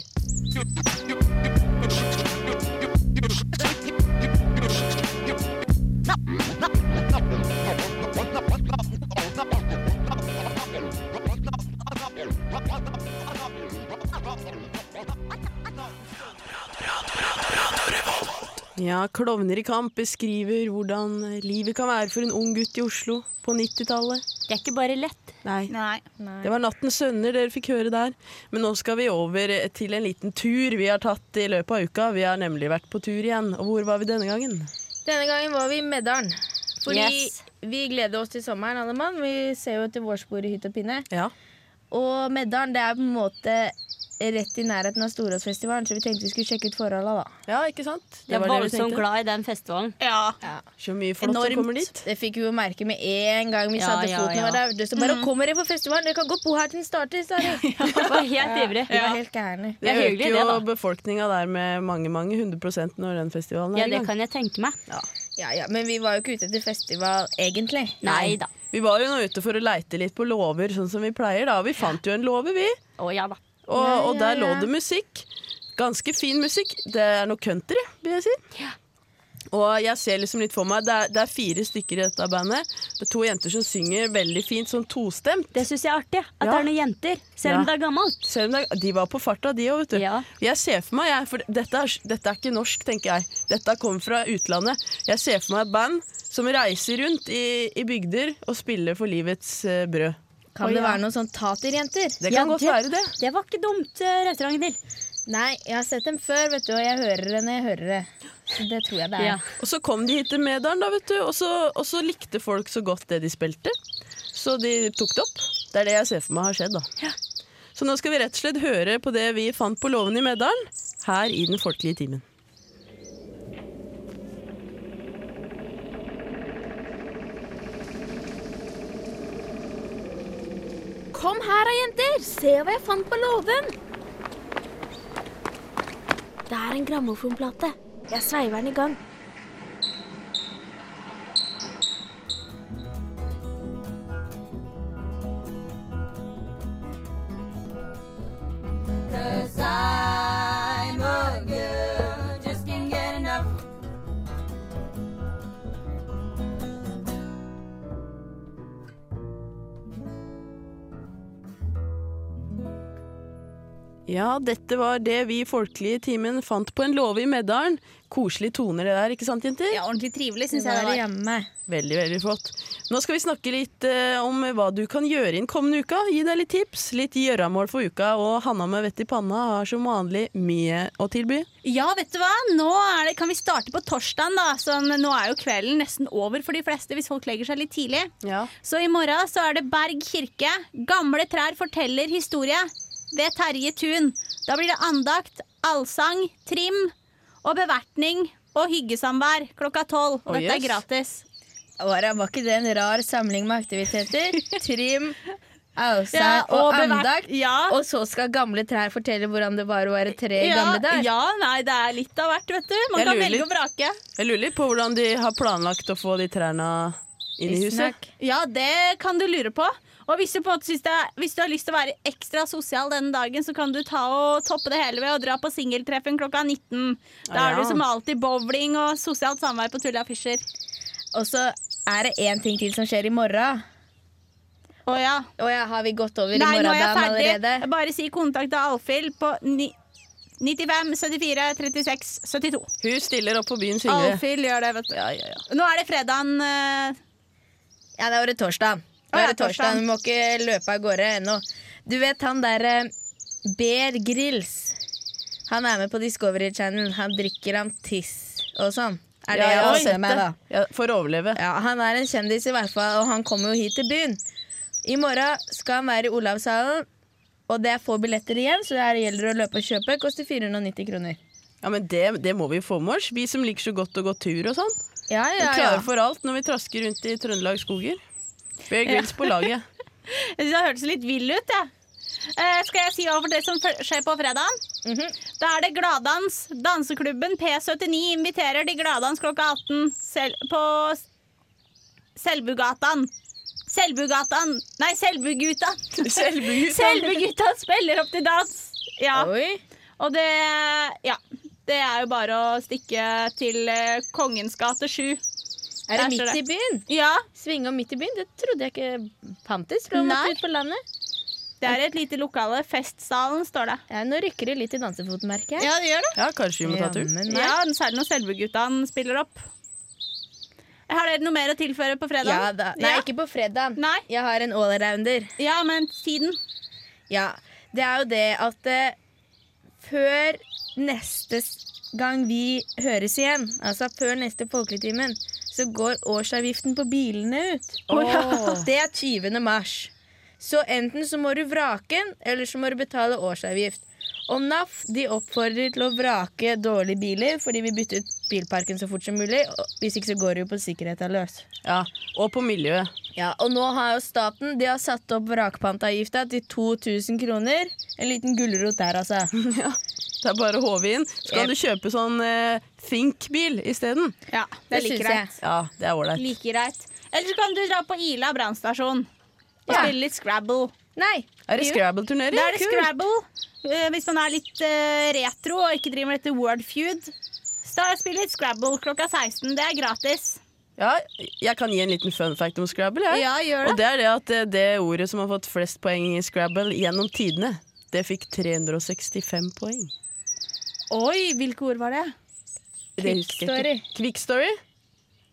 [SPEAKER 1] Ja, Klovner i kamp beskriver hvordan livet kan være for en ung gutt i Oslo på 90-tallet.
[SPEAKER 2] Det er ikke bare lett.
[SPEAKER 1] Nei.
[SPEAKER 4] Nei.
[SPEAKER 1] Det var Nattens sønner dere fikk høre der. Men nå skal vi over eh, til en liten tur vi har tatt i løpet av uka. Vi har nemlig vært på tur igjen. Og hvor var vi denne gangen?
[SPEAKER 3] Denne gangen var vi i Meddalen. Fordi
[SPEAKER 2] Yes.
[SPEAKER 3] vi gleder oss til sommeren, alle mann. Vi ser jo etter vårspor i hytt og pinne.
[SPEAKER 1] Ja.
[SPEAKER 3] Og Meddalen det er på en måte rett i nærheten av Storåsfestivalen, så vi tenkte vi skulle sjekke ut forholda da.
[SPEAKER 1] Ja, ikke sant?
[SPEAKER 2] Jeg er voldsomt glad i den festivalen.
[SPEAKER 4] Ja.
[SPEAKER 1] Så mye flott som
[SPEAKER 4] Enormt.
[SPEAKER 1] kommer dit.
[SPEAKER 3] Det fikk vi jo merke med en gang vi
[SPEAKER 2] Ja,
[SPEAKER 3] satte
[SPEAKER 2] ja,
[SPEAKER 3] foten
[SPEAKER 2] ja.
[SPEAKER 3] vår der. Det står bare 'Kommer dere på festivalen? Dere kan godt bo her til den starter', sa de.
[SPEAKER 2] Jeg var helt ivrig.
[SPEAKER 3] Vi var helt gærne.
[SPEAKER 1] Det
[SPEAKER 2] Det er hyggelig,
[SPEAKER 1] øker
[SPEAKER 2] det,
[SPEAKER 1] jo
[SPEAKER 2] da.
[SPEAKER 1] befolkninga der med mange, mange 100 når den festivalen
[SPEAKER 2] Ja,
[SPEAKER 1] er i
[SPEAKER 2] det
[SPEAKER 1] gang.
[SPEAKER 2] kan jeg tenke meg.
[SPEAKER 3] Ja, ja, men vi var jo ikke ute etter festival, egentlig.
[SPEAKER 2] Nei da.
[SPEAKER 1] Vi var jo nå ute for å leite litt på låver, sånn som vi pleier. da Vi fant jo en låve, vi.
[SPEAKER 2] Å ja da.
[SPEAKER 1] Og,
[SPEAKER 3] Ja, ja,
[SPEAKER 1] og der lå
[SPEAKER 3] ja.
[SPEAKER 1] det musikk. Ganske fin musikk. Det er noe country, vil jeg si. Og jeg ser liksom litt for meg det er, det er fire stykker i dette bandet. Det er to jenter som synger veldig fint, sånn tostemt.
[SPEAKER 2] Det syns jeg er artig. At det er noen jenter. Selv om det er gammelt.
[SPEAKER 1] Selv om det er, de var på farta, de òg, vet du. Jeg ser for meg, jeg, for dette er, dette er ikke norsk, tenker jeg. Dette kommer fra utlandet. Jeg ser for meg et band som reiser rundt i, i bygder og spiller for livets eh, brød.
[SPEAKER 3] Kan det være noen sånn taterjenter?
[SPEAKER 1] Det kan godt være det.
[SPEAKER 2] Det var ikke dumt, eh, Rause Ragnhild.
[SPEAKER 3] Nei, jeg har sett dem før, vet du, og jeg hører det når jeg hører det. Så det tror jeg det er.
[SPEAKER 1] Ja. Og så kom de hit til Medalen, da, vet du. Og så, og så likte folk så godt det de spilte. Så de tok det opp. Det er det jeg ser for meg har skjedd, da. Så nå skal vi rett og slett høre på det vi fant på låven i Medalen, her i Den folkelige timen.
[SPEAKER 11] Kom her da, jenter. Se hva jeg fant på låven. Det er en grammofonplate. Jeg sveiver den i gang.
[SPEAKER 12] Cause I'm a girl, just can't get enough.
[SPEAKER 1] Ja, dette var det vi i folkelige timen fant på en låve i Medalen. Koselige toner det der, ikke sant, jenter?
[SPEAKER 4] Ja, ordentlig trivelig,
[SPEAKER 3] synes jeg det var. Hjemme.
[SPEAKER 1] Veldig, veldig flott. Nå skal vi snakke litt eh, om hva du kan gjøre inn kommende uka. Gi deg litt tips, litt gjøremål for uka, og Hanna med vett i panna har som vanlig mye å tilby.
[SPEAKER 4] Ja, vet du hva? Nå er det, kan vi starte på torsdagen, da. Sånn, nå er jo kvelden nesten over for de fleste hvis folk legger seg litt tidlig. Så i morgen så er det Berg kirke. Gamle trær forteller historie ved Terje Tun. Da blir det andakt, allsang, trim og bevertning og hyggesamvær klokka tolv. Og
[SPEAKER 3] Å,
[SPEAKER 4] dette er
[SPEAKER 3] jøss.
[SPEAKER 4] gratis.
[SPEAKER 3] Var, var ikke det en rar samling med aktiviteter? Trim, allsang
[SPEAKER 4] Ja,
[SPEAKER 3] og,
[SPEAKER 4] og bevert-
[SPEAKER 3] andakt. Og så skal gamle trær fortelle hvordan det var å være tre
[SPEAKER 4] Ja,
[SPEAKER 3] gamle der.
[SPEAKER 4] ja, nei, det er litt av hvert, vet du. Man
[SPEAKER 1] Jeg
[SPEAKER 4] kan
[SPEAKER 1] lurer
[SPEAKER 4] velge
[SPEAKER 1] litt.
[SPEAKER 4] og vrake.
[SPEAKER 1] Jeg lurer litt på hvordan de har planlagt å få de trærne inn i huset.
[SPEAKER 4] Ja, det kan du lure på. Og hvis du, på en måte synes det er, hvis du har lyst til å være ekstra sosial denne dagen, så kan du ta og toppe det hele ved å dra på singeltreffen klokka 19. Da
[SPEAKER 3] Ah, ja.
[SPEAKER 4] er du som alltid bowling og sosialt samvær på Tulla Fischer.
[SPEAKER 3] Og så er det én ting til som skjer i morgen.
[SPEAKER 4] Å ja.
[SPEAKER 3] Har vi gått over
[SPEAKER 4] Nei, nå er
[SPEAKER 3] i
[SPEAKER 4] jeg
[SPEAKER 3] morgendagen
[SPEAKER 4] ferdig.
[SPEAKER 3] allerede?
[SPEAKER 4] Bare si kontakt av Alfhild på ni 95 74 36 72.
[SPEAKER 1] Hun stiller opp på byen synger.
[SPEAKER 4] Alfhild gjør det, vet du. Nå er det fredagen. eh,
[SPEAKER 3] Ja, det var det torsdag. Det var
[SPEAKER 4] ja,
[SPEAKER 3] det torsdag.
[SPEAKER 4] torsdag.
[SPEAKER 3] Vi må ikke løpe av gårde ennå. Du vet han derre eh, Bear Grills. Han er med på Discovery Channel. Han drikker han tiss og sånn. Er det
[SPEAKER 1] Ja,
[SPEAKER 3] jeg
[SPEAKER 1] jeg har
[SPEAKER 3] har
[SPEAKER 1] sett
[SPEAKER 3] sett meg, da.
[SPEAKER 1] det. for å overleve.
[SPEAKER 3] Ja, han er en kjendis i hvert fall, og han kommer jo hit til byen. I morgen skal han være i Olavshallen, og det er få billetter igjen, så det her gjelder å løpe og kjøpe. Koster 490 kroner.
[SPEAKER 1] Ja, men det, det må vi få med oss, vi som liker så godt å gå tur og sånn.
[SPEAKER 3] Ja,
[SPEAKER 1] Vi
[SPEAKER 3] ja, ja.
[SPEAKER 1] klarer for alt når vi trasker rundt i Trøndelag skoger. Bear Grylls
[SPEAKER 4] Ja.
[SPEAKER 1] på laget.
[SPEAKER 4] Jeg synes det hørtes litt vill ut, jeg. Eh, skal jeg si hva for det som fø- skjer på fredagen? Da er det Gladdans. Danseklubben P79 inviterer til Gladdans klokka 18 sel på S- Selbugatan. Selbugatan Nei, Selbugutan.
[SPEAKER 1] Selbugutan.
[SPEAKER 4] Selbugutan spiller opp til dans. Ja.
[SPEAKER 3] Oi.
[SPEAKER 4] Og det Ja. Det er jo bare å stikke til eh, Kongens gate 7.
[SPEAKER 3] Er det
[SPEAKER 4] Der står
[SPEAKER 3] midt i byen?
[SPEAKER 4] Ja.
[SPEAKER 3] Svingom midt i byen? Det trodde jeg ikke fantes. Tror jeg måtte
[SPEAKER 4] Nei.
[SPEAKER 3] ut på landet.
[SPEAKER 4] Det er et lite lokale. Festsalen står det.
[SPEAKER 3] Ja, Eh, nå rykker det litt i dansefoten, merker jeg.
[SPEAKER 4] Ja, det gjør det.
[SPEAKER 1] Ja, kanskje vi må ta tur.
[SPEAKER 3] Jammen, nei.
[SPEAKER 4] Ja, særlig når Selbuguttene spiller opp. Har dere noe mer å tilføre på fredag?
[SPEAKER 3] Ja da. Nei, ikke på fredag. Jeg har en allrounder.
[SPEAKER 4] Ja, men tiden?
[SPEAKER 3] Ja. Det er jo det at eh, før neste s- gang vi høres igjen, altså før neste folketimen, så går årsavgiften på bilene ut.
[SPEAKER 4] Å, ja.
[SPEAKER 3] Det er 20. mars. Så enten så må du vrake den, eller så må du betale årsavgift. Og NAF de oppfordrer til å vrake dårlige biler, fordi vi bytter ut bilparken så fort som mulig. og Hvis ikke så går det jo på sikkerheten løs.
[SPEAKER 1] Ja, og på miljøet.
[SPEAKER 3] Ja, og nå har jo staten De har satt opp vrakpantavgifta til 2000 kroner. En liten gulrot der, altså.
[SPEAKER 1] Det er bare å håve inn. Så kan
[SPEAKER 3] Yep.
[SPEAKER 1] du kjøpe sånn eh, Think-bil isteden.
[SPEAKER 4] Ja, det er like greit.
[SPEAKER 1] Ja, det er ålreit.
[SPEAKER 4] Like greit. Eller så kan du dra på Ila brannstasjon og
[SPEAKER 3] Ja.
[SPEAKER 4] spille litt Scrabble.
[SPEAKER 3] Nei,
[SPEAKER 1] Er det
[SPEAKER 2] Jo.
[SPEAKER 1] Scrabble-turnering?
[SPEAKER 2] Da er det
[SPEAKER 1] Kult.
[SPEAKER 2] Scrabble. Eh, hvis man er litt eh, retro og ikke driver med dette word feud. Så da spiller litt Scrabble klokka 16. Det er gratis.
[SPEAKER 1] Ja, jeg kan gi en liten fun fact om Scrabble. Jeg.
[SPEAKER 2] Ja, gjør det.
[SPEAKER 1] Og det er det at eh, det ordet som har fått flest poeng i Scrabble gjennom tidene, det fikk 365 poeng.
[SPEAKER 2] Oi, hvilke ord var det?
[SPEAKER 1] Det husker jeg ikke. Quick story?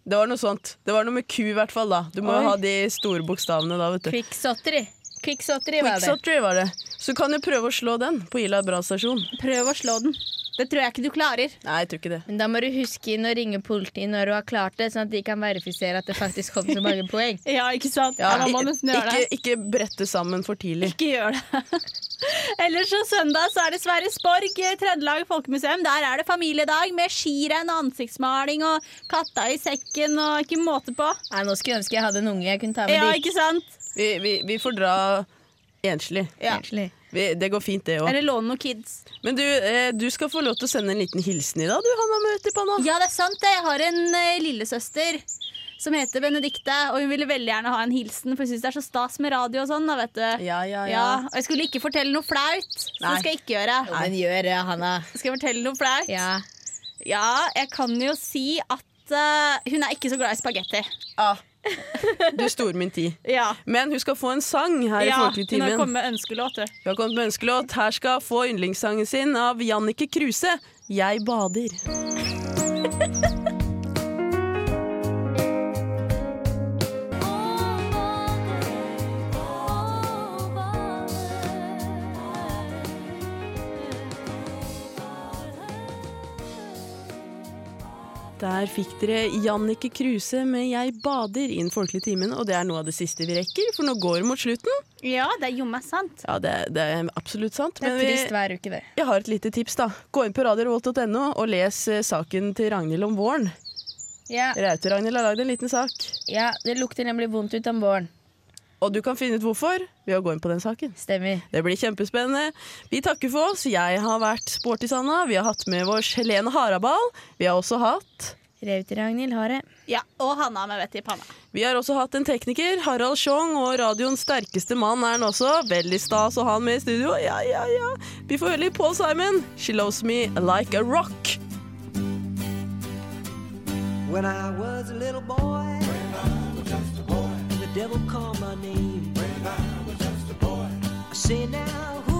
[SPEAKER 1] Det var noe sånt. Det var noe med Q i hvert fall, da. Du må
[SPEAKER 3] Oi.
[SPEAKER 1] jo ha de store bokstavene da, vet du.
[SPEAKER 3] Kvikksottery. Kvikksottery var det.
[SPEAKER 1] Quicksottery var det. Så kan du prøve å slå den på Ila Bra stasjon.
[SPEAKER 2] Prøv å slå den. Det tror jeg ikke du klarer.
[SPEAKER 1] Nei, jeg tror ikke det.
[SPEAKER 3] Men da må du huske inn og ringe politiet når du har klart det, sånn at de kan verifisere at det faktisk kom så mange poeng.
[SPEAKER 2] ja, ikke sant?
[SPEAKER 1] Ja,
[SPEAKER 3] da må
[SPEAKER 1] i-
[SPEAKER 3] man nesten gjøre
[SPEAKER 1] ikke, ikke brett det sammen for tidlig.
[SPEAKER 2] Ikke gjør det. Ellers så søndag så er det Sverresborg, eh, Trøndelag Folkemuseum. Der er det familiedag med skirenn og ansiktsmaling og katta i sekken og ikke måte på.
[SPEAKER 3] Nei, nå skulle jeg ønske jeg hadde en unge jeg kunne ta med
[SPEAKER 2] Ja,
[SPEAKER 3] dit.
[SPEAKER 2] ikke sant?
[SPEAKER 1] Vi, vi, vi får dra enslig.
[SPEAKER 3] Enslig.
[SPEAKER 1] Vi, det går fint, det òg.
[SPEAKER 2] Eller låne noen kids.
[SPEAKER 1] Men du, eh, du skal få lov til å sende en liten hilsen i dag, du, Hanna Møtepanna.
[SPEAKER 2] Ja, det er sant. det. Jeg har en eh, lillesøster som heter Benedikte, og hun ville veldig gjerne ha en hilsen, for hun syns det er så stas med radio og sånn. da, vet du.
[SPEAKER 1] Ja, ja, ja.
[SPEAKER 2] Og jeg skulle ikke fortelle noe flaut, så
[SPEAKER 3] Nei.
[SPEAKER 2] det skal jeg ikke gjøre.
[SPEAKER 3] Jo, men gjør det, Hanna.
[SPEAKER 2] Skal jeg fortelle noe flaut?
[SPEAKER 3] Ja.
[SPEAKER 2] Ja, jeg kan jo si at eh, hun er ikke så glad i spagetti.
[SPEAKER 1] Du store min tid.
[SPEAKER 2] Ja.
[SPEAKER 1] Men hun skal få en sang her i
[SPEAKER 2] ja, hun har
[SPEAKER 1] Folkeligtimen.
[SPEAKER 2] kommet med ønskelåt. du.
[SPEAKER 1] Hun har kommet med ønskelåt. Her skal hun få yndlingssangen sin av Jannicke Kruse, 'Jeg bader'. Der fikk dere Jannicke Kruse med 'Jeg bader' innen folkelig timen, og det er noe av det siste vi rekker, for nå går det mot slutten.
[SPEAKER 2] Ja, det er jommen sant.
[SPEAKER 1] Ja, det, det er absolutt sant.
[SPEAKER 2] Det er trist
[SPEAKER 3] hver uke, det.
[SPEAKER 1] Jeg har et lite tips, da. Gå inn på radiorevolt.no og les eh, saken til Ragnhild om våren.
[SPEAKER 3] Ja.
[SPEAKER 1] Raute-Ragnhild har lagd en liten sak.
[SPEAKER 3] ja, det lukter nemlig vondt ut om våren.
[SPEAKER 1] Og du kan finne ut hvorfor ved å gå inn på den saken.
[SPEAKER 3] Stemmer.
[SPEAKER 1] Det blir kjempespennende. Vi takker for oss. Jeg har vært sporty Sanna. Vi har hatt med oss Helene Harabal. Vi har også hatt
[SPEAKER 3] Raute-Ragnhild har det.
[SPEAKER 2] Ja, Og Hanna med vett i panna.
[SPEAKER 1] Vi har også hatt en tekniker, Harald Schjong, og radioens sterkeste mann er han også. Veldig stas å ha han med i studio. Ja, ja, ja. Vi får høre litt Paul Simon. She loves me like a rock.
[SPEAKER 13] When I was a little boy, the devil called my name. I say now.